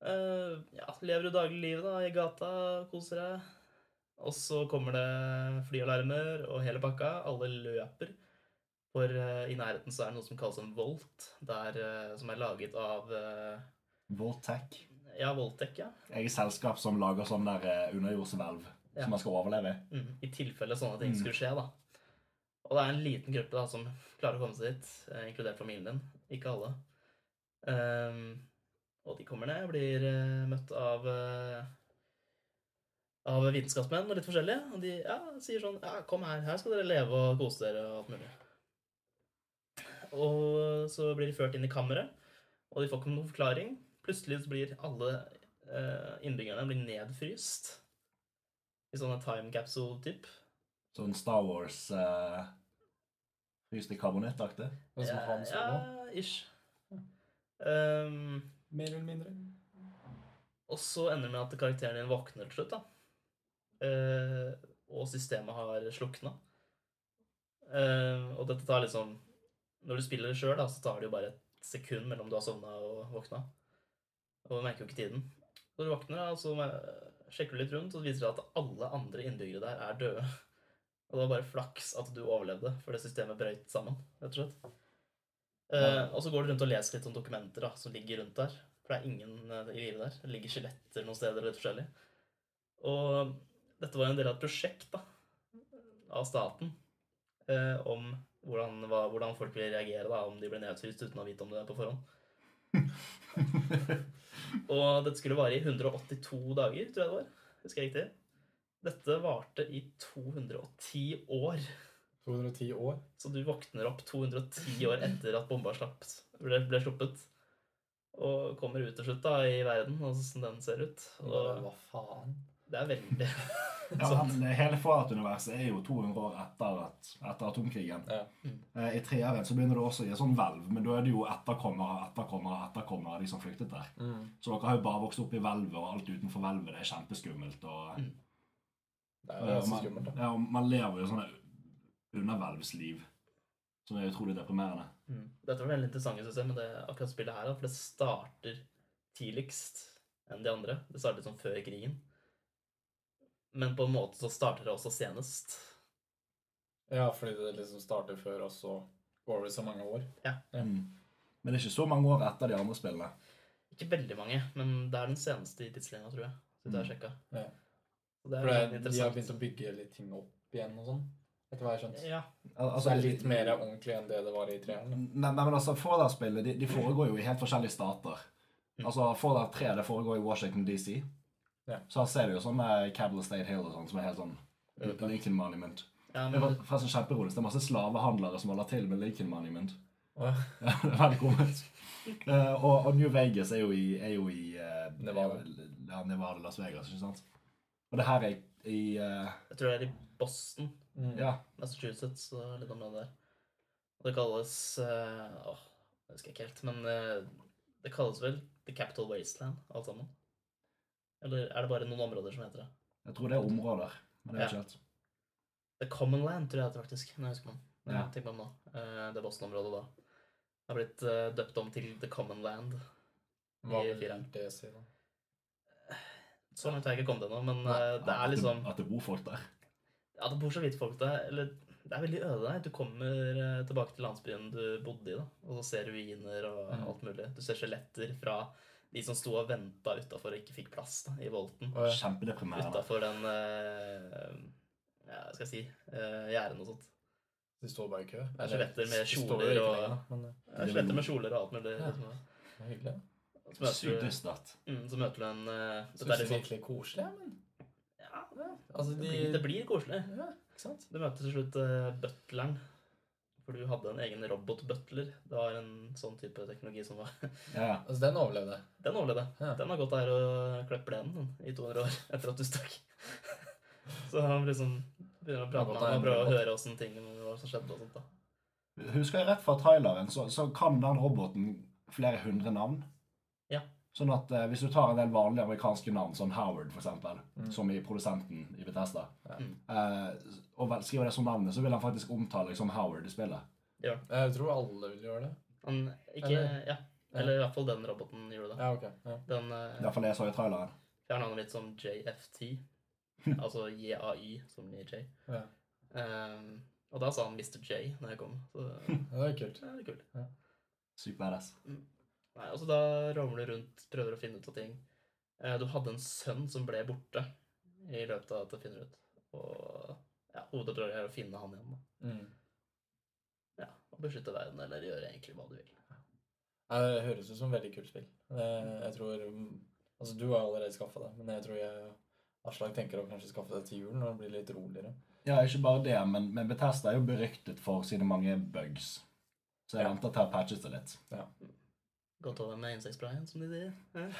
[SPEAKER 2] Eh, ja, lever du dagliglivet da, i gata, koser deg. Og så kommer det flyalarmer og hele pakka. Alle løper. For eh, i nærheten så er det noe som kalles en volt, der, eh, som er laget av eh,
[SPEAKER 3] Vortec.
[SPEAKER 2] Ja, Voltec, ja.
[SPEAKER 3] Jeg er et selskap som lager sånn der eh, underjordshvelv
[SPEAKER 2] Ja.
[SPEAKER 3] som man skal overleve i.
[SPEAKER 2] Mm, I tilfelle sånne ting
[SPEAKER 3] Mm.
[SPEAKER 2] skulle skje, da. Og det er en liten gruppe da, som klarer å komme seg dit, eh, inkludert familien din. Ikke alle. Ehm, og de kommer ned, blir eh, møtt av eh, av vitenskapsmenn og litt forskjellige. Og de ja, sier sånn Ja, kom her. Her skal dere leve og kose dere og alt mulig. Og så blir de ført inn i kammeret, og de får ikke noen forklaring. Plutselig så blir alle eh, innbyggerne blir nedfryst i sånne time capsule-typ.
[SPEAKER 3] Sånn Star Wars uh, fryst i karbonittaktig.
[SPEAKER 1] Sånn som
[SPEAKER 2] Ja,
[SPEAKER 1] han så nå?
[SPEAKER 2] Ja, ish. Ehm,
[SPEAKER 1] Mer eller mindre.
[SPEAKER 2] og så ender det med at karakteren din våkner til slutt, da. Eh, og systemet har slukna. Ehm, og dette tar liksom Når du spiller det sjøl, så tar det jo bare et sekund mellom du har sovna og våkna. Og du merker jo ikke tiden. Når du våkner, da, så eh, sjekker du litt rundt, og det viser seg at alle andre innbyggere der er døde. Og det var bare flaks at du overlevde, for det systemet brøyt sammen. rett og slett. Eh, og så går du rundt og leser litt om dokumenter da, som ligger rundt der. For det er ingen eh, i live der. Det ligger skjeletter noen steder og litt forskjellig. Og dette var jo en del av et prosjekt da, av staten eh, om hvordan, hva, hvordan folk vil reagere da, om de blir nedfryst uten å vite om det på forhånd. Og dette skulle vare i 182 dager, tror jeg det var. Husker jeg riktig? Dette varte i 210 år.
[SPEAKER 1] 210 år.
[SPEAKER 2] Så du våkner opp 210 år etter at bomba slapp, ble, ble sluppet. Og kommer ut til slutt da i verden, og sånn den ser ut. Og
[SPEAKER 1] Hva faen?
[SPEAKER 2] det er veldig
[SPEAKER 3] Ja, men hele Fallout-universet er jo 200 år etter, at, etter atomkrigen.
[SPEAKER 1] Ja.
[SPEAKER 3] Eh, I treeren så begynner det også i en sånn hvelv, men da er det jo etterkommere, etterkommere, etterkommere av de som flyktet der.
[SPEAKER 1] Mm.
[SPEAKER 3] Så dere har jo bare vokst opp i hvelvet, og alt utenfor hvelvet det er kjempeskummelt. Og,
[SPEAKER 1] Mm. Det er jo
[SPEAKER 3] og
[SPEAKER 1] ganske
[SPEAKER 3] man,
[SPEAKER 1] skummelt, da.
[SPEAKER 3] ja, og man lever jo sånne underhvelvsliv, som er utrolig deprimerende.
[SPEAKER 2] Mm. Dette var veldig interessant, synes jeg, med det akkurat spillet her. da, For det starter tidligst enn de andre. Det startet som før krigen. Men på en måte så starter det også senest.
[SPEAKER 1] Ja, fordi det liksom starter før, og så går det så mange år. Ja.
[SPEAKER 3] Mm. Men det er ikke så mange år etter de andre spillene.
[SPEAKER 2] Ikke veldig mange, men det er den seneste i tidslinja, tror jeg. Så det har jeg sjekka.
[SPEAKER 1] Ja.
[SPEAKER 2] Så det
[SPEAKER 1] Mm. For
[SPEAKER 2] er veldig
[SPEAKER 1] det, de har
[SPEAKER 2] interessant.
[SPEAKER 1] begynt å bygge litt ting opp igjen og sånn, etter hva jeg har skjønt.
[SPEAKER 2] Ja.
[SPEAKER 3] Al
[SPEAKER 1] Altså det er litt mer ordentlig enn det det var i treeren.
[SPEAKER 3] Nei, nei, men altså, Fallout-spillet de, de foregår jo i helt forskjellige stater.
[SPEAKER 2] Mm.
[SPEAKER 3] Altså, Fallout 3 det foregår i Washington DC.
[SPEAKER 1] Ja.
[SPEAKER 3] Så her ser du jo sånne Cabal State Hill og sånn, som er helt sånn
[SPEAKER 1] Mm.
[SPEAKER 3] Lincoln Monument.
[SPEAKER 2] ja,
[SPEAKER 3] Det
[SPEAKER 2] men
[SPEAKER 3] er forresten kjempeironisk. Det er masse slavehandlere som holder til med Lincoln Monument. [LAUGHS]
[SPEAKER 1] Åh,
[SPEAKER 3] Ja, det er veldig komisk. Eh, og, og New Vegas er jo i, er jo i eh,
[SPEAKER 1] Nevada.
[SPEAKER 3] Ja, Nevada, Las Vegas, ikke sant? Og det her er i eh,
[SPEAKER 2] jeg tror det er i Boston,
[SPEAKER 1] Mm.
[SPEAKER 3] Ja.
[SPEAKER 2] Massachusetts, og litt område der. Og det kalles eh, Åh, det husker jeg ikke helt, men eh, det kalles vel The Capital Wasteland, alt sammen? Eller er det bare noen områder som heter det?
[SPEAKER 3] Jeg tror det er områder. Men det er ikke helt.
[SPEAKER 2] The Common Land, tror jeg det faktisk. Nå husker man. Nå
[SPEAKER 3] Ja.
[SPEAKER 2] tenker man nå. Eh, det Boston-området da. Det har blitt eh, døpt om til The Common Land.
[SPEAKER 1] Hva
[SPEAKER 2] I
[SPEAKER 1] vil
[SPEAKER 2] fireren.
[SPEAKER 1] det si, da?
[SPEAKER 2] Så langt har jeg ikke kommet ennå, men
[SPEAKER 1] Nei,
[SPEAKER 2] eh, det
[SPEAKER 3] At
[SPEAKER 2] er liksom
[SPEAKER 3] At det bor folk der.
[SPEAKER 2] Ja, det bor så vidt folk der. Eller det er veldig øde der. Du kommer eh, tilbake til landsbyen du bodde i, da, og så ser du ruiner og
[SPEAKER 1] Mm.
[SPEAKER 2] alt mulig. Du ser skjeletter fra de som sto og venta utafor og ikke fikk plass da, i volten.
[SPEAKER 1] Åh, ja.
[SPEAKER 3] Kjempedeprimerende.
[SPEAKER 2] Utafor den eh, Ja, hva skal jeg si uh, Gjerdene og sånt.
[SPEAKER 1] De står bare i kø.
[SPEAKER 2] er skjeletter med
[SPEAKER 1] de står jo
[SPEAKER 2] kjoler
[SPEAKER 1] ikke
[SPEAKER 2] og-
[SPEAKER 1] lenger, da, Men eh. det
[SPEAKER 2] Ja, Skjeletter med kjoler og alt mulig.
[SPEAKER 1] Ja.
[SPEAKER 2] Liksom.
[SPEAKER 1] er hyggelig.
[SPEAKER 2] Og Så
[SPEAKER 3] Sykt
[SPEAKER 2] møter du,
[SPEAKER 3] dystert.
[SPEAKER 2] mm, så møter du en eh, Dette
[SPEAKER 1] Syns
[SPEAKER 2] er
[SPEAKER 1] det
[SPEAKER 2] litt sånn
[SPEAKER 1] virkelig koselig, ja, men
[SPEAKER 2] ja,
[SPEAKER 1] Altså,
[SPEAKER 2] det,
[SPEAKER 1] de
[SPEAKER 2] blir, det blir koselig.
[SPEAKER 1] Ja, ikke sant?
[SPEAKER 2] Du møter til slutt eh, butleren. For du hadde en egen robot-butler. Det var en sånn type teknologi som var
[SPEAKER 3] Ja,
[SPEAKER 1] Altså, den overlevde.
[SPEAKER 2] Den overlevde.
[SPEAKER 1] Ja.
[SPEAKER 2] Den har gått der og kløpt plenen den, i 200 år [LAUGHS] etter at du stakk. Så han liksom begynner å prate med ham og prøve å høre åssen ting hva som skjedde og sånt. da.
[SPEAKER 3] Husker jeg rett fra traileren, så, så kan den roboten flere hundre navn.
[SPEAKER 2] Ja.
[SPEAKER 3] Sånn at eh, hvis du tar en del vanlige amerikanske navn, sånn Howard for eksempel,
[SPEAKER 1] Mm.
[SPEAKER 3] som i produsenten i Bethesda,
[SPEAKER 1] Ja.
[SPEAKER 3] eh, og vel- skriver det som navnet, så vil han faktisk omtale deg som Howard i spillet.
[SPEAKER 1] Jeg tror alle vil gjøre det.
[SPEAKER 2] Han ikke
[SPEAKER 1] Eller-
[SPEAKER 2] Ja. Eller i hvert fall den roboten gjorde det.
[SPEAKER 1] Ja, ok. Ja.
[SPEAKER 2] Den
[SPEAKER 3] I hvert fall det jeg så i traileren.
[SPEAKER 2] fjerna han litt som JFT.
[SPEAKER 1] [LAUGHS]
[SPEAKER 2] altså JAY, som i J.
[SPEAKER 1] Ja.
[SPEAKER 2] Ehm, og da sa han Mr. J når jeg kom. Så det
[SPEAKER 1] Ja, det er kult.
[SPEAKER 2] er litt kult.
[SPEAKER 3] Sykt badass.
[SPEAKER 2] Nei, altså Da ramler du rundt, prøver å finne ut av ting. Eh, Du hadde en sønn som ble borte i løpet av at du finner ut. Og ja, hovedoppdraget er å finne han igjen. da.
[SPEAKER 1] Mm.
[SPEAKER 2] Ja, og Beskytte verden, eller gjøre egentlig hva du vil.
[SPEAKER 1] Ja, Det høres ut som et veldig kult spill. Eh, Jeg tror mm, Altså, du har allerede skaffa det, men jeg tror jeg Aslak tenker å kanskje skaffe det til julen når det blir litt roligere.
[SPEAKER 3] Ja, ikke bare det, men, men Bethesda er jo beryktet for sine mange bugs. Så jeg
[SPEAKER 1] Ja.
[SPEAKER 3] venter til jeg patches det litt.
[SPEAKER 2] Godt over med insektsprayen, som de sier. Eh?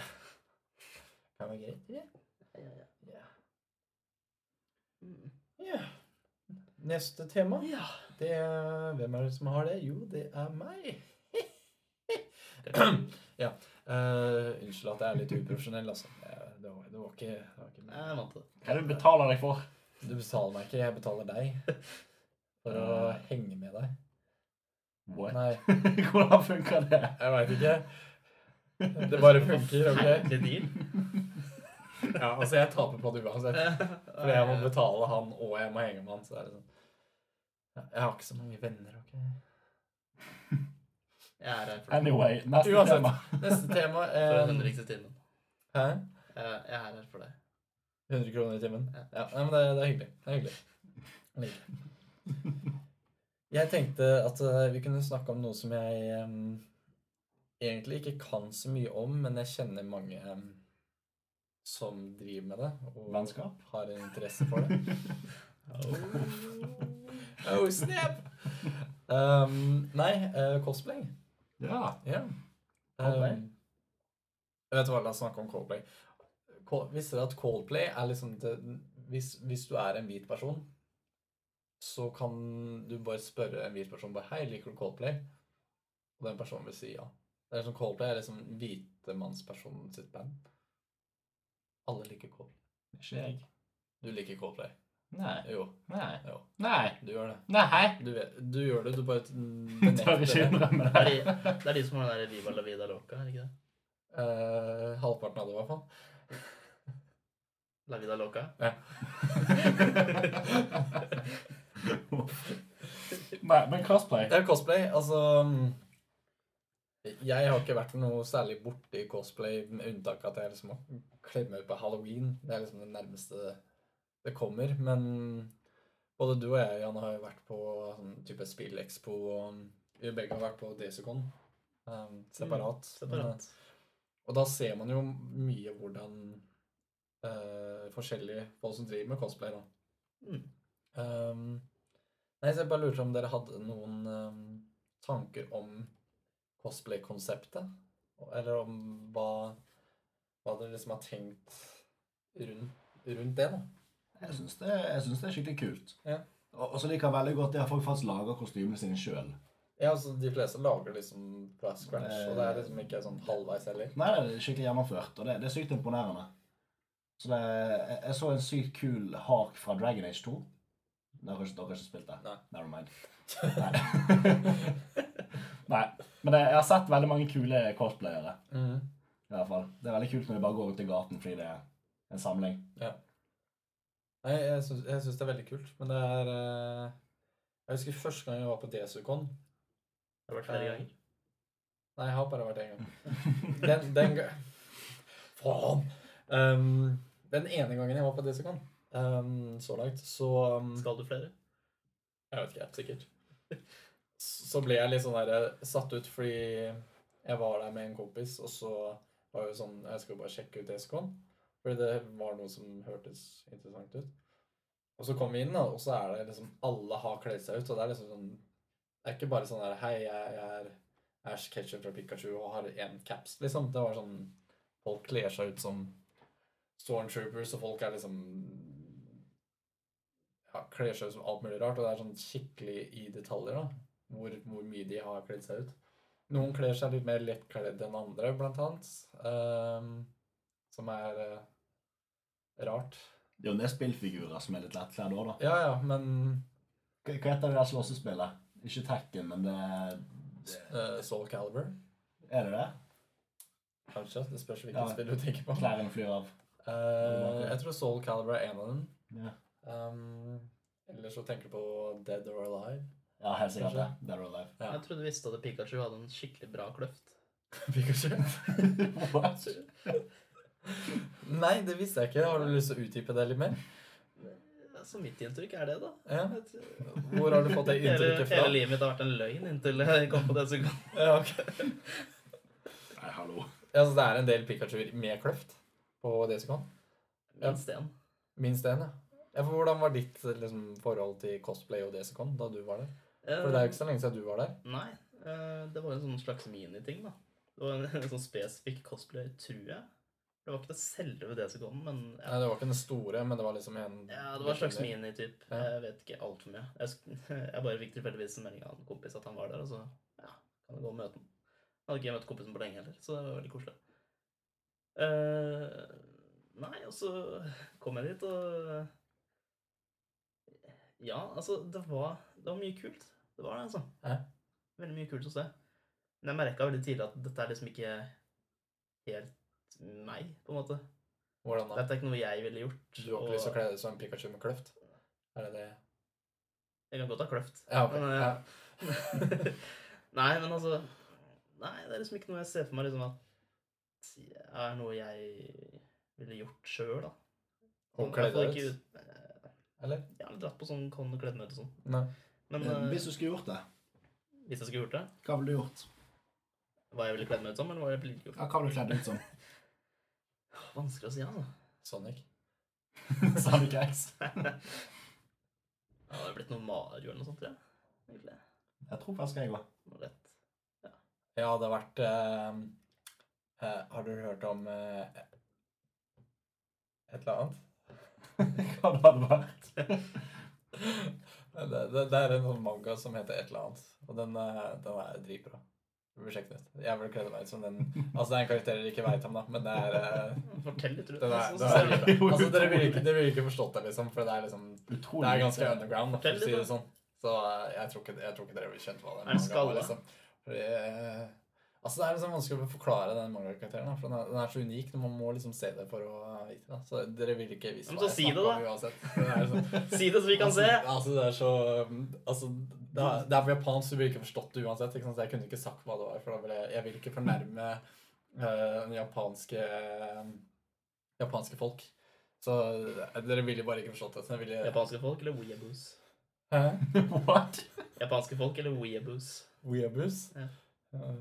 [SPEAKER 1] Kan være greit, det.
[SPEAKER 2] Ja, ja,
[SPEAKER 1] Ja.
[SPEAKER 2] Mm.
[SPEAKER 1] Ja. Neste tema,
[SPEAKER 2] ja.
[SPEAKER 1] det er Hvem er det som har det? Jo, det er meg. [CLEARS THROAT] ja. eh, unnskyld at jeg er litt uprofesjonell, altså. Eh, Det var, det var ikke, det var ikke
[SPEAKER 2] Nei, Jeg vant det.
[SPEAKER 3] Hva er det du betaler deg for?
[SPEAKER 1] Du betaler meg ikke, jeg betaler deg. For å
[SPEAKER 3] Eh.
[SPEAKER 1] henge med deg.
[SPEAKER 3] What? [LAUGHS]
[SPEAKER 1] Nei,
[SPEAKER 3] Hvordan funker [LAUGHS] det?
[SPEAKER 1] jeg veit [LAUGHS] ikke. Det bare funker, OK?
[SPEAKER 2] Forferdelig deal.
[SPEAKER 1] Ja, altså, jeg taper på det uansett. Fordi jeg må betale han, og jeg må henge med han. Så er det sånn Ja, Jeg har ikke så mange venner, OK?
[SPEAKER 2] Jeg er her for det.
[SPEAKER 3] Anyway, neste
[SPEAKER 1] Uansett.
[SPEAKER 3] tema.
[SPEAKER 1] Neste tema
[SPEAKER 2] For
[SPEAKER 1] eh,
[SPEAKER 2] den hundrikste timen.
[SPEAKER 1] Hæ?
[SPEAKER 2] Eh, Jeg er her for det.
[SPEAKER 1] 100 kroner i timen?
[SPEAKER 2] Ja.
[SPEAKER 1] Ja, nei, men det, det er hyggelig. Det er hyggelig. Jeg liker det. Jeg tenkte at eh, vi kunne snakke om noe som jeg em, egentlig ikke kan så mye om, men jeg kjenner mange em, som driver med det, og
[SPEAKER 3] Vennskap?
[SPEAKER 1] har en interesse for det. Oh, snap! Em, nei, eh, cosplay.
[SPEAKER 3] Ja.
[SPEAKER 1] Ja.
[SPEAKER 3] Coldplay?
[SPEAKER 1] Um, jeg vet hva, la oss snakke om Coldplay. Col- Visste dere at Coldplay er liksom det, hvis, hvis du er en hvit person, så kan du bare spørre en hvit person bare, Hei, liker du Coldplay? Og den personen vil si ja. Det er liksom Coldplay er liksom hvitemannspersonen sitt band. Alle liker Coldplay.
[SPEAKER 3] Ikke jeg.
[SPEAKER 1] Du liker Coldplay.
[SPEAKER 3] Nei.
[SPEAKER 1] Jo,
[SPEAKER 3] Nei.
[SPEAKER 1] Jo.
[SPEAKER 3] Nei.
[SPEAKER 1] du gjør det.
[SPEAKER 3] Nei.
[SPEAKER 1] Du, vet, du gjør det, du
[SPEAKER 3] [LAUGHS]
[SPEAKER 1] bare
[SPEAKER 3] Jeg tør ikke
[SPEAKER 1] det.
[SPEAKER 3] innrømme
[SPEAKER 2] Det er
[SPEAKER 3] det.
[SPEAKER 2] de- det er de som har den der Viva la vida loca, er det ikke det?
[SPEAKER 1] Eh, halvparten av det, i hvert fall.
[SPEAKER 2] La vida loca?
[SPEAKER 3] Nei, men crossplay
[SPEAKER 1] Det er cosplay. Altså mm, Jeg har ikke vært noe særlig borti cosplay, med unntak av at jeg liksom har kledd meg ut på halloween. Det er liksom det nærmeste det kommer. Men både du og jeg, Jan, har jo vært på sånn type spillekspo, og vi begge har vært på Desicon um, separat. Men,
[SPEAKER 2] Mm, Separat.
[SPEAKER 1] og da ser man jo mye hvordan eh, forskjellige folk som driver med cosplay, da.
[SPEAKER 2] Mm.
[SPEAKER 1] Ehm, nei, så jeg bare lurte om dere hadde noen ehm, tanker om cosplay-konseptet? Eller om hva, hva dere liksom har tenkt rundt, rundt det, da?
[SPEAKER 3] Jeg syns det, jeg syns det er skikkelig kult.
[SPEAKER 1] Ja.
[SPEAKER 3] Og og så liker jeg veldig godt det at folk faktisk lager kostymene sine sjøl.
[SPEAKER 1] Ja, altså De fleste lager liksom fra scratch, og det er liksom ikke sånn halvveis heller.
[SPEAKER 3] Nei, det er skikkelig gjennomført, og det, det er sykt imponerende. Så det, jeg, jeg så en sykt kul hark fra Dragon Age 2. Dere har ikke, dere har ikke spilt det?
[SPEAKER 1] Nei.
[SPEAKER 3] Never mind.
[SPEAKER 1] [LAUGHS]
[SPEAKER 3] Nei. [LAUGHS] Nei. Men det, jeg har sett veldig mange kule cosplayere.
[SPEAKER 1] Mm.
[SPEAKER 3] I hvert fall. Det er veldig kult når de bare går ut i gaten fordi det er en samling.
[SPEAKER 1] Nei, jeg syns, jeg syns det er veldig kult, men det er eh, Jeg husker første gang jeg var på DSU-con.
[SPEAKER 2] Det har vært flere
[SPEAKER 1] Eh,
[SPEAKER 2] ganger.
[SPEAKER 1] Nei, jeg har bare vært én gang. [LAUGHS] Den, den ga- Faen! Um, den ene gangen jeg var på Desikan um, så langt, så um,
[SPEAKER 2] Skal du flere?
[SPEAKER 1] Jeg vet ikke, sikkert. Så ble jeg litt sånn der, satt ut fordi jeg var der med en kompis, og så var jeg jo sånn Jeg skal bare sjekke ut Desikan, fordi det var noe som hørtes interessant ut. Og så kom vi inn, da, og så er det liksom Alle har kledd seg ut, og det er liksom sånn Det er ikke bare sånn der Hei, jeg er Ash Ketchum fra Pikachu og har én caps, liksom. Det var sånn Folk kler seg ut som stormtroopers, og folk er liksom ja, Kler seg ut som alt mulig rart, og det er sånn skikkelig i detaljer, da. Hvor, hvor mye de har kledd seg ut. Noen kler seg litt mer lettkledd enn andre, blant annet. ehm, som er eh, rart.
[SPEAKER 3] Det er jo en del spillfigurer som er litt lettkledd òg, da.
[SPEAKER 1] Ja, ja, men
[SPEAKER 3] Hva hva heter det der slåssespillet? Ikke Tekken, men det det-
[SPEAKER 1] eh, Soul Caliber,
[SPEAKER 3] Er det det?
[SPEAKER 1] kanskje? Det spørs hvilket
[SPEAKER 3] Ja.
[SPEAKER 1] spill du tenker på.
[SPEAKER 3] Klærne flyr av.
[SPEAKER 1] Eh, jeg tror Soul Caliber er en av dem.
[SPEAKER 3] Ja,
[SPEAKER 1] Um, eller så tenker du på Dead or Alive. [LAUGHS]
[SPEAKER 3] ja helt sikkert det. Dead or Alive. [LAUGHS]
[SPEAKER 1] Ja.
[SPEAKER 2] Jeg trodde du visste at Pikachu hadde en skikkelig bra kløft.
[SPEAKER 1] Pikachu?
[SPEAKER 3] What?
[SPEAKER 1] Nei, det visste jeg ikke. Har du lyst til å utdype det litt mer?
[SPEAKER 2] Så mitt inntrykk er det, da.
[SPEAKER 1] Ja.
[SPEAKER 2] Jeg tror-
[SPEAKER 1] Hvor har du fått det
[SPEAKER 2] Hele,
[SPEAKER 1] inntrykket fra?
[SPEAKER 2] hele livet mitt har vært en løgn inntil jeg kom på det sekundet.
[SPEAKER 1] Ja,
[SPEAKER 2] [LAUGHS]
[SPEAKER 1] ok.
[SPEAKER 3] Nei, hallo.
[SPEAKER 1] ja, så det er en del Pikachuer med kløft på Desicon?
[SPEAKER 2] Minst én.
[SPEAKER 1] Minst én, ja. ja. For hvordan var ditt liksom, forhold til cosplay og Desicon da du var der? For det er jo ikke så lenge siden du var der.
[SPEAKER 2] Nei, eh, det var en sånn slags miniting, da. Det var en, [LAUGHS] en sånn spesifikk cosplay, tror jeg. Det var ikke det selve det som kom, men
[SPEAKER 1] Nei,
[SPEAKER 2] ja,
[SPEAKER 1] det var ikke den store, men det var liksom en
[SPEAKER 2] ja, det var en slags minityp.
[SPEAKER 1] Ja.
[SPEAKER 2] Jeg vet ikke altfor mye. Jeg, sk- [LAUGHS] jeg bare fikk tilfeldigvis en melding av en kompis at han var der, og så ja, kan jeg gå og møte ham. Jeg hadde ikke møtt kompisen på lenge heller, så det var veldig koselig. Eh, nei, og så kom jeg dit, og Ja, altså, det var, det var mye kult. Det var det, altså.
[SPEAKER 1] Ja.
[SPEAKER 2] Veldig mye kult å se. Men jeg merka veldig tidlig at dette er liksom ikke helt meg, på en måte.
[SPEAKER 1] Hvordan da?
[SPEAKER 2] Dette er ikke noe jeg ville gjort.
[SPEAKER 1] Du har ikke lyst til å kle deg ut som en Pikachu med kløft? Er det det?
[SPEAKER 2] Jeg kan godt ha kløft.
[SPEAKER 1] Ja, ok.
[SPEAKER 2] Men, eh,
[SPEAKER 1] Ja.
[SPEAKER 2] [LAUGHS] nei, men altså Nei, det er liksom ikke noe jeg ser for meg liksom at er noe jeg ville gjort sjøl, da.
[SPEAKER 1] Og
[SPEAKER 2] I hvert
[SPEAKER 1] kle
[SPEAKER 2] fall
[SPEAKER 1] deg
[SPEAKER 2] ikke
[SPEAKER 1] ut?
[SPEAKER 2] ut-
[SPEAKER 1] Eller?
[SPEAKER 2] Jeg har aldri dratt på sånn kon og kledd meg ut og sånn.
[SPEAKER 1] [LAUGHS] Nei.
[SPEAKER 2] Men
[SPEAKER 3] Eh,
[SPEAKER 2] eh,
[SPEAKER 3] Hvis du skulle gjort det,
[SPEAKER 2] hvis jeg skulle gjort det,
[SPEAKER 3] hva ville du gjort?
[SPEAKER 2] hva jeg ville kledd meg ut som, eller hva jeg ville gjort
[SPEAKER 3] Ja, hva ville du kledd deg ut
[SPEAKER 1] [LAUGHS]
[SPEAKER 3] som?
[SPEAKER 2] Vanskelig å si, altså.
[SPEAKER 1] Sonic.
[SPEAKER 3] Sonic X?
[SPEAKER 2] Ja, det hadde blitt noe Mario eller noe sånt, tror jeg. Egentlig.
[SPEAKER 3] Jeg tror faktisk jeg òg.
[SPEAKER 2] Noe lett.
[SPEAKER 1] Ja, det har vært eh, eh, Har du hørt om eh, et eller annet?
[SPEAKER 3] [LAUGHS] Hva det hadde vært.
[SPEAKER 1] Det, det, det er en sånn manga som heter et eller annet, og den, eh, den er dritbra. Du bør sjekke den ut. Jeg vil kle meg ut som den Altså, det er en karakter dere ikke veit om, da, men det er eh,
[SPEAKER 2] Fortell litt rundt
[SPEAKER 1] den er,
[SPEAKER 2] så- så
[SPEAKER 1] den
[SPEAKER 2] ser
[SPEAKER 1] er,
[SPEAKER 2] vi [LAUGHS] det.
[SPEAKER 1] dritbra. Altså, dere ville ikke, dere ville ikke forstått det, liksom, for det er liksom
[SPEAKER 3] Utrolig.
[SPEAKER 1] Det er ganske underground, da, for
[SPEAKER 2] Fortell
[SPEAKER 1] å si
[SPEAKER 2] litt,
[SPEAKER 1] det sånn. Så eh, jeg tror ikke, jeg tror ikke dere ville skjønt hva det
[SPEAKER 2] Er den skalla?
[SPEAKER 1] liksom. Fordi, eh, altså, det er liksom vanskelig å forklare den mangakarakteren, da, for den er, den er så unik. men Man må liksom se det for å vite det. da. Så dere ville ikke visst
[SPEAKER 2] Ja, men så si det, da.
[SPEAKER 1] uansett. Det er liksom,
[SPEAKER 2] Si det, så vi kan se!
[SPEAKER 1] Altså, altså, det er så altså, det, er, det er på japansk, du ville ikke forstått det uansett. Ikke sant? Så jeg kunne ikke sagt hva det var, for da ville jeg, jeg ville ikke fornærme eh, den japanske um, japanske folk. Så eh, dere ville bare ikke forstått det. Så jeg ville
[SPEAKER 2] Japanske folk eller weaboos?
[SPEAKER 1] Hæ? [LAUGHS]
[SPEAKER 3] What?
[SPEAKER 2] Japanske folk eller weaboos?
[SPEAKER 1] Weabus?
[SPEAKER 2] Ja.
[SPEAKER 1] Eh,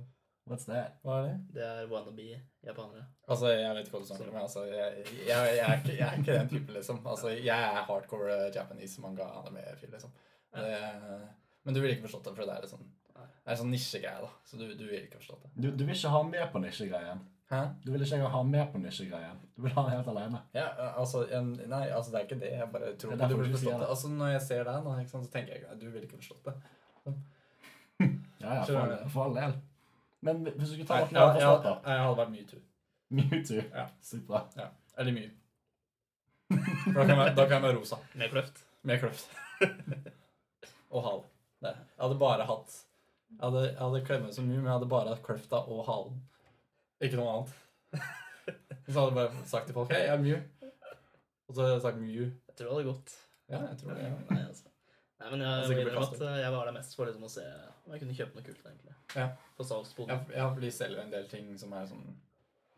[SPEAKER 3] What's that?
[SPEAKER 1] Hva er det?
[SPEAKER 2] Det er wannabe-japanere.
[SPEAKER 1] Altså, jeg vet ikke hva du snakker om. jeg, Altså, jeg, jeg, jeg, er ikke, jeg er ikke den type, liksom. Altså, jeg er hardcore eh, Japanese manga-anime-fyr, liksom. Det, men du ville ikke forstått det, for det er en sånn, det er en sånn nisjegreie, da. Så du, du ville ikke forstått det.
[SPEAKER 3] Du, du vil ikke ha med på nisjegreien.
[SPEAKER 1] Hæ?
[SPEAKER 3] Du vil ikke ha med på nisjegreien. Du vil ha den helt alene.
[SPEAKER 1] Ja, eh, altså, en, nei, altså, det er ikke det. Jeg bare tror
[SPEAKER 3] Det
[SPEAKER 1] ikke du
[SPEAKER 3] er derfor
[SPEAKER 1] ville
[SPEAKER 3] du sier
[SPEAKER 1] forstått
[SPEAKER 3] det.
[SPEAKER 1] det. Altså, når jeg ser deg nå, ikke sant, så tenker jeg ikke du ville ikke forstått det.
[SPEAKER 3] Ja, ja, for,
[SPEAKER 1] Skjønner
[SPEAKER 3] all- for all del. Men hvis du skulle ta
[SPEAKER 1] Nei, jeg,
[SPEAKER 3] noe
[SPEAKER 1] jeg,
[SPEAKER 3] annet
[SPEAKER 1] jeg,
[SPEAKER 3] forstått, da? [LAUGHS]
[SPEAKER 1] hadde vært Mewtwo.
[SPEAKER 3] Mewtwo.
[SPEAKER 1] Ja.
[SPEAKER 3] Sykt bra.
[SPEAKER 1] Eller Mew. For Da kan jeg være- da kan jeg være rosa.
[SPEAKER 2] Med kløft.
[SPEAKER 1] Med kløft. [LAUGHS] og hal. Nei, Jeg hadde bare hatt Jeg hadde, jeg hadde kledd meg så mye, men jeg hadde bare hatt kløfta og halen. Ikke noe annet. [LAUGHS] Så hadde jeg bare sagt til folk Hei, jeg er Mew. Og så hadde jeg sagt Mew.
[SPEAKER 2] Jeg tror det hadde gått.
[SPEAKER 1] Ja, jeg tror det. Ja.
[SPEAKER 2] Nei, altså. Nei, men jeg
[SPEAKER 1] Altså,
[SPEAKER 2] må
[SPEAKER 1] ikke
[SPEAKER 2] innrømme at
[SPEAKER 1] forkastet.
[SPEAKER 2] jeg var der mest for liksom å se om jeg kunne kjøpe noe kult. egentlig.
[SPEAKER 1] Ja.
[SPEAKER 2] På salgsboden.
[SPEAKER 1] Jeg, jeg blir selv en del ting som er sånn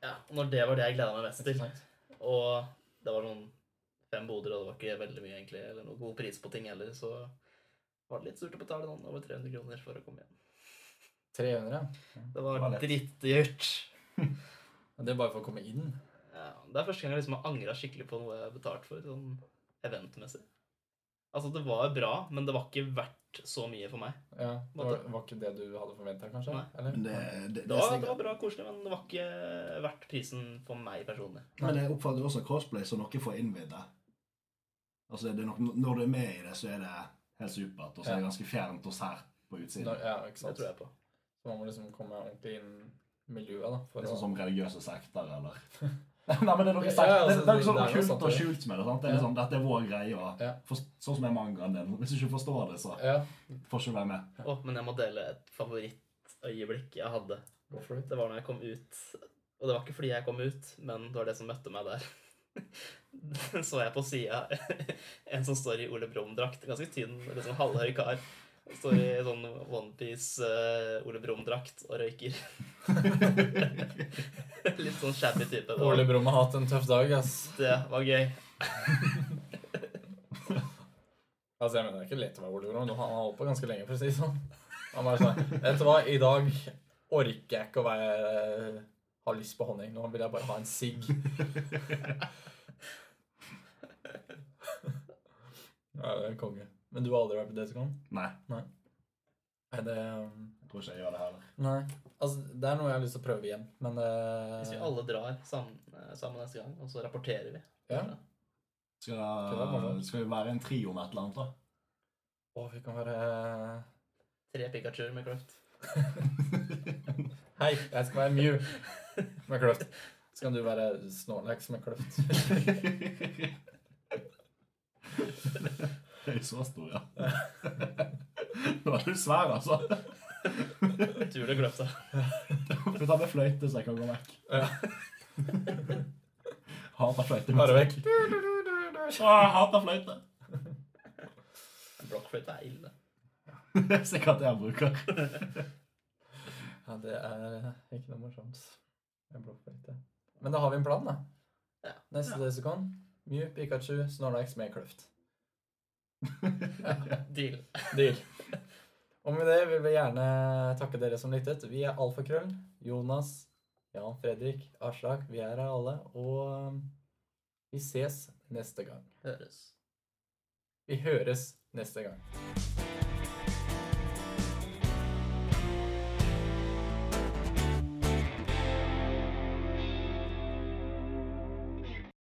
[SPEAKER 2] Ja, og når det var det jeg gleda meg mest til,
[SPEAKER 1] interessant.
[SPEAKER 2] og det var noen fem boder, og det var ikke veldig mye egentlig, eller noen god pris på ting heller, så var det litt surt å betale noen over 300 kroner for å komme hjem.
[SPEAKER 1] 300.
[SPEAKER 2] Det
[SPEAKER 3] Det
[SPEAKER 2] var,
[SPEAKER 3] var lett.
[SPEAKER 2] drittdyrt.
[SPEAKER 1] ja. Det er bare for å komme inn.
[SPEAKER 2] Ja, det er første gang jeg liksom har angra skikkelig på noe jeg har betalt for, sånn eventmessig. Altså, det var bra, men det var ikke verdt vært så mye for meg.
[SPEAKER 1] Ja, var, var ikke det du hadde forventa, kanskje?
[SPEAKER 2] Nei.
[SPEAKER 1] Eller?
[SPEAKER 3] Men det, det,
[SPEAKER 2] Det
[SPEAKER 3] det er
[SPEAKER 2] var, det
[SPEAKER 3] sikkert
[SPEAKER 2] var bra koselig, men det var ikke verdt prisen for meg personlig.
[SPEAKER 3] Men jeg oppfatter også crossplay som noe for innvidde. Altså, det er nok, når du er med i det, så er det helt supert, og så er det ganske fjernt og sært på
[SPEAKER 1] Når,
[SPEAKER 3] utsiden.
[SPEAKER 1] ja, ikke
[SPEAKER 2] Det
[SPEAKER 1] sant.
[SPEAKER 2] tror jeg på.
[SPEAKER 1] Så man må liksom komme ordentlig inn i miljøet, da. For
[SPEAKER 3] Det er
[SPEAKER 1] å,
[SPEAKER 3] sånn som religiøse sekter,
[SPEAKER 1] [LAUGHS]
[SPEAKER 3] eller Nei, men det er noe,
[SPEAKER 1] Ja,
[SPEAKER 3] sekt,
[SPEAKER 1] ja,
[SPEAKER 3] det,
[SPEAKER 1] altså,
[SPEAKER 3] det er noe
[SPEAKER 1] det-
[SPEAKER 3] sånn
[SPEAKER 1] det er noe
[SPEAKER 3] kult
[SPEAKER 1] sant i
[SPEAKER 3] og
[SPEAKER 1] det.
[SPEAKER 3] skjult med det. sant? Det er
[SPEAKER 1] Ja.
[SPEAKER 3] liksom, Dette er vår greie. Og,
[SPEAKER 1] Ja.
[SPEAKER 3] for, sånn som er mangaen din. Hvis du ikke forstår det, så
[SPEAKER 1] ja,
[SPEAKER 3] får ikke du være med.
[SPEAKER 2] Å, men jeg må dele et favorittøyeblikk jeg hadde.
[SPEAKER 1] go for it.
[SPEAKER 2] Det var når jeg kom ut. Og det var ikke fordi jeg kom ut, men det var det som møtte meg der. [LAUGHS] Så jeg på sida en som står i Ole Brumm-drakt. Ganske tynn, liksom halvhøy kar. Står i sånn onepiece uh, Ole Brumm-drakt og røyker. [LAUGHS] Litt sånn shabby type. Det
[SPEAKER 1] Ole
[SPEAKER 2] var,
[SPEAKER 1] Brumm har hatt en tøff dag, ass.
[SPEAKER 2] det var gøy.
[SPEAKER 1] Altså, jeg mener det er ikke lett å være Ole Brumm. men Han har holdt på ganske lenge, for å si det sånn. Han bare sånn Vet du hva, i dag orker jeg ikke å være ha lyst på honning. Nå vil jeg bare ha en sigg. ja, det er konge. Men du har aldri vært på Datacon?
[SPEAKER 3] Nei,
[SPEAKER 1] Er det um,
[SPEAKER 3] jeg tror ikke jeg gjør det heller.
[SPEAKER 1] Nei. Altså, det er noe jeg har lyst til å prøve igjen, men eh,
[SPEAKER 2] Hvis vi alle drar sammen, eh, sammen neste gang, og så rapporterer vi.
[SPEAKER 1] Ja. Skal det være
[SPEAKER 3] Skal, eh,
[SPEAKER 1] morsomt?
[SPEAKER 3] skal vi være en trio med et eller annet, da?
[SPEAKER 1] Å, vi kan være
[SPEAKER 2] Tre Pikachuer med kløft.
[SPEAKER 1] Hei, jeg skal være Mew med kløft. Så kan du være Snorlax med kløft.
[SPEAKER 3] Det er jo så stor, ja. [LAUGHS] Nå er du svær, altså.
[SPEAKER 2] [LAUGHS] Tur til kløfta.
[SPEAKER 3] Få ta med fløyte, så jeg kan gå vekk.
[SPEAKER 1] Ja.
[SPEAKER 3] [LAUGHS] Hater fløyte.
[SPEAKER 1] [LAUGHS] Bare vekk.
[SPEAKER 3] Å, jeg hater fløyte. [LAUGHS]
[SPEAKER 2] Blokkfløyte er ille.
[SPEAKER 3] Det er sikkert det jeg bruker.
[SPEAKER 1] [LAUGHS] Ja, det er ikke noe morsomt. Jeg blokker litt, ja. Men da har vi en plan, da.
[SPEAKER 2] Ja.
[SPEAKER 1] Neste
[SPEAKER 2] Ja.
[SPEAKER 1] Desikon. Mew, Pikachu, Snorlax med kløft.
[SPEAKER 2] Deal. [LAUGHS]
[SPEAKER 1] Deal. Og med det vil vi gjerne takke dere som lyttet. Vi er Alfakrøll, Jonas, Jan Fredrik, Aslak. Vi er her alle. Og vi ses neste gang.
[SPEAKER 2] Høres.
[SPEAKER 1] Vi høres neste gang.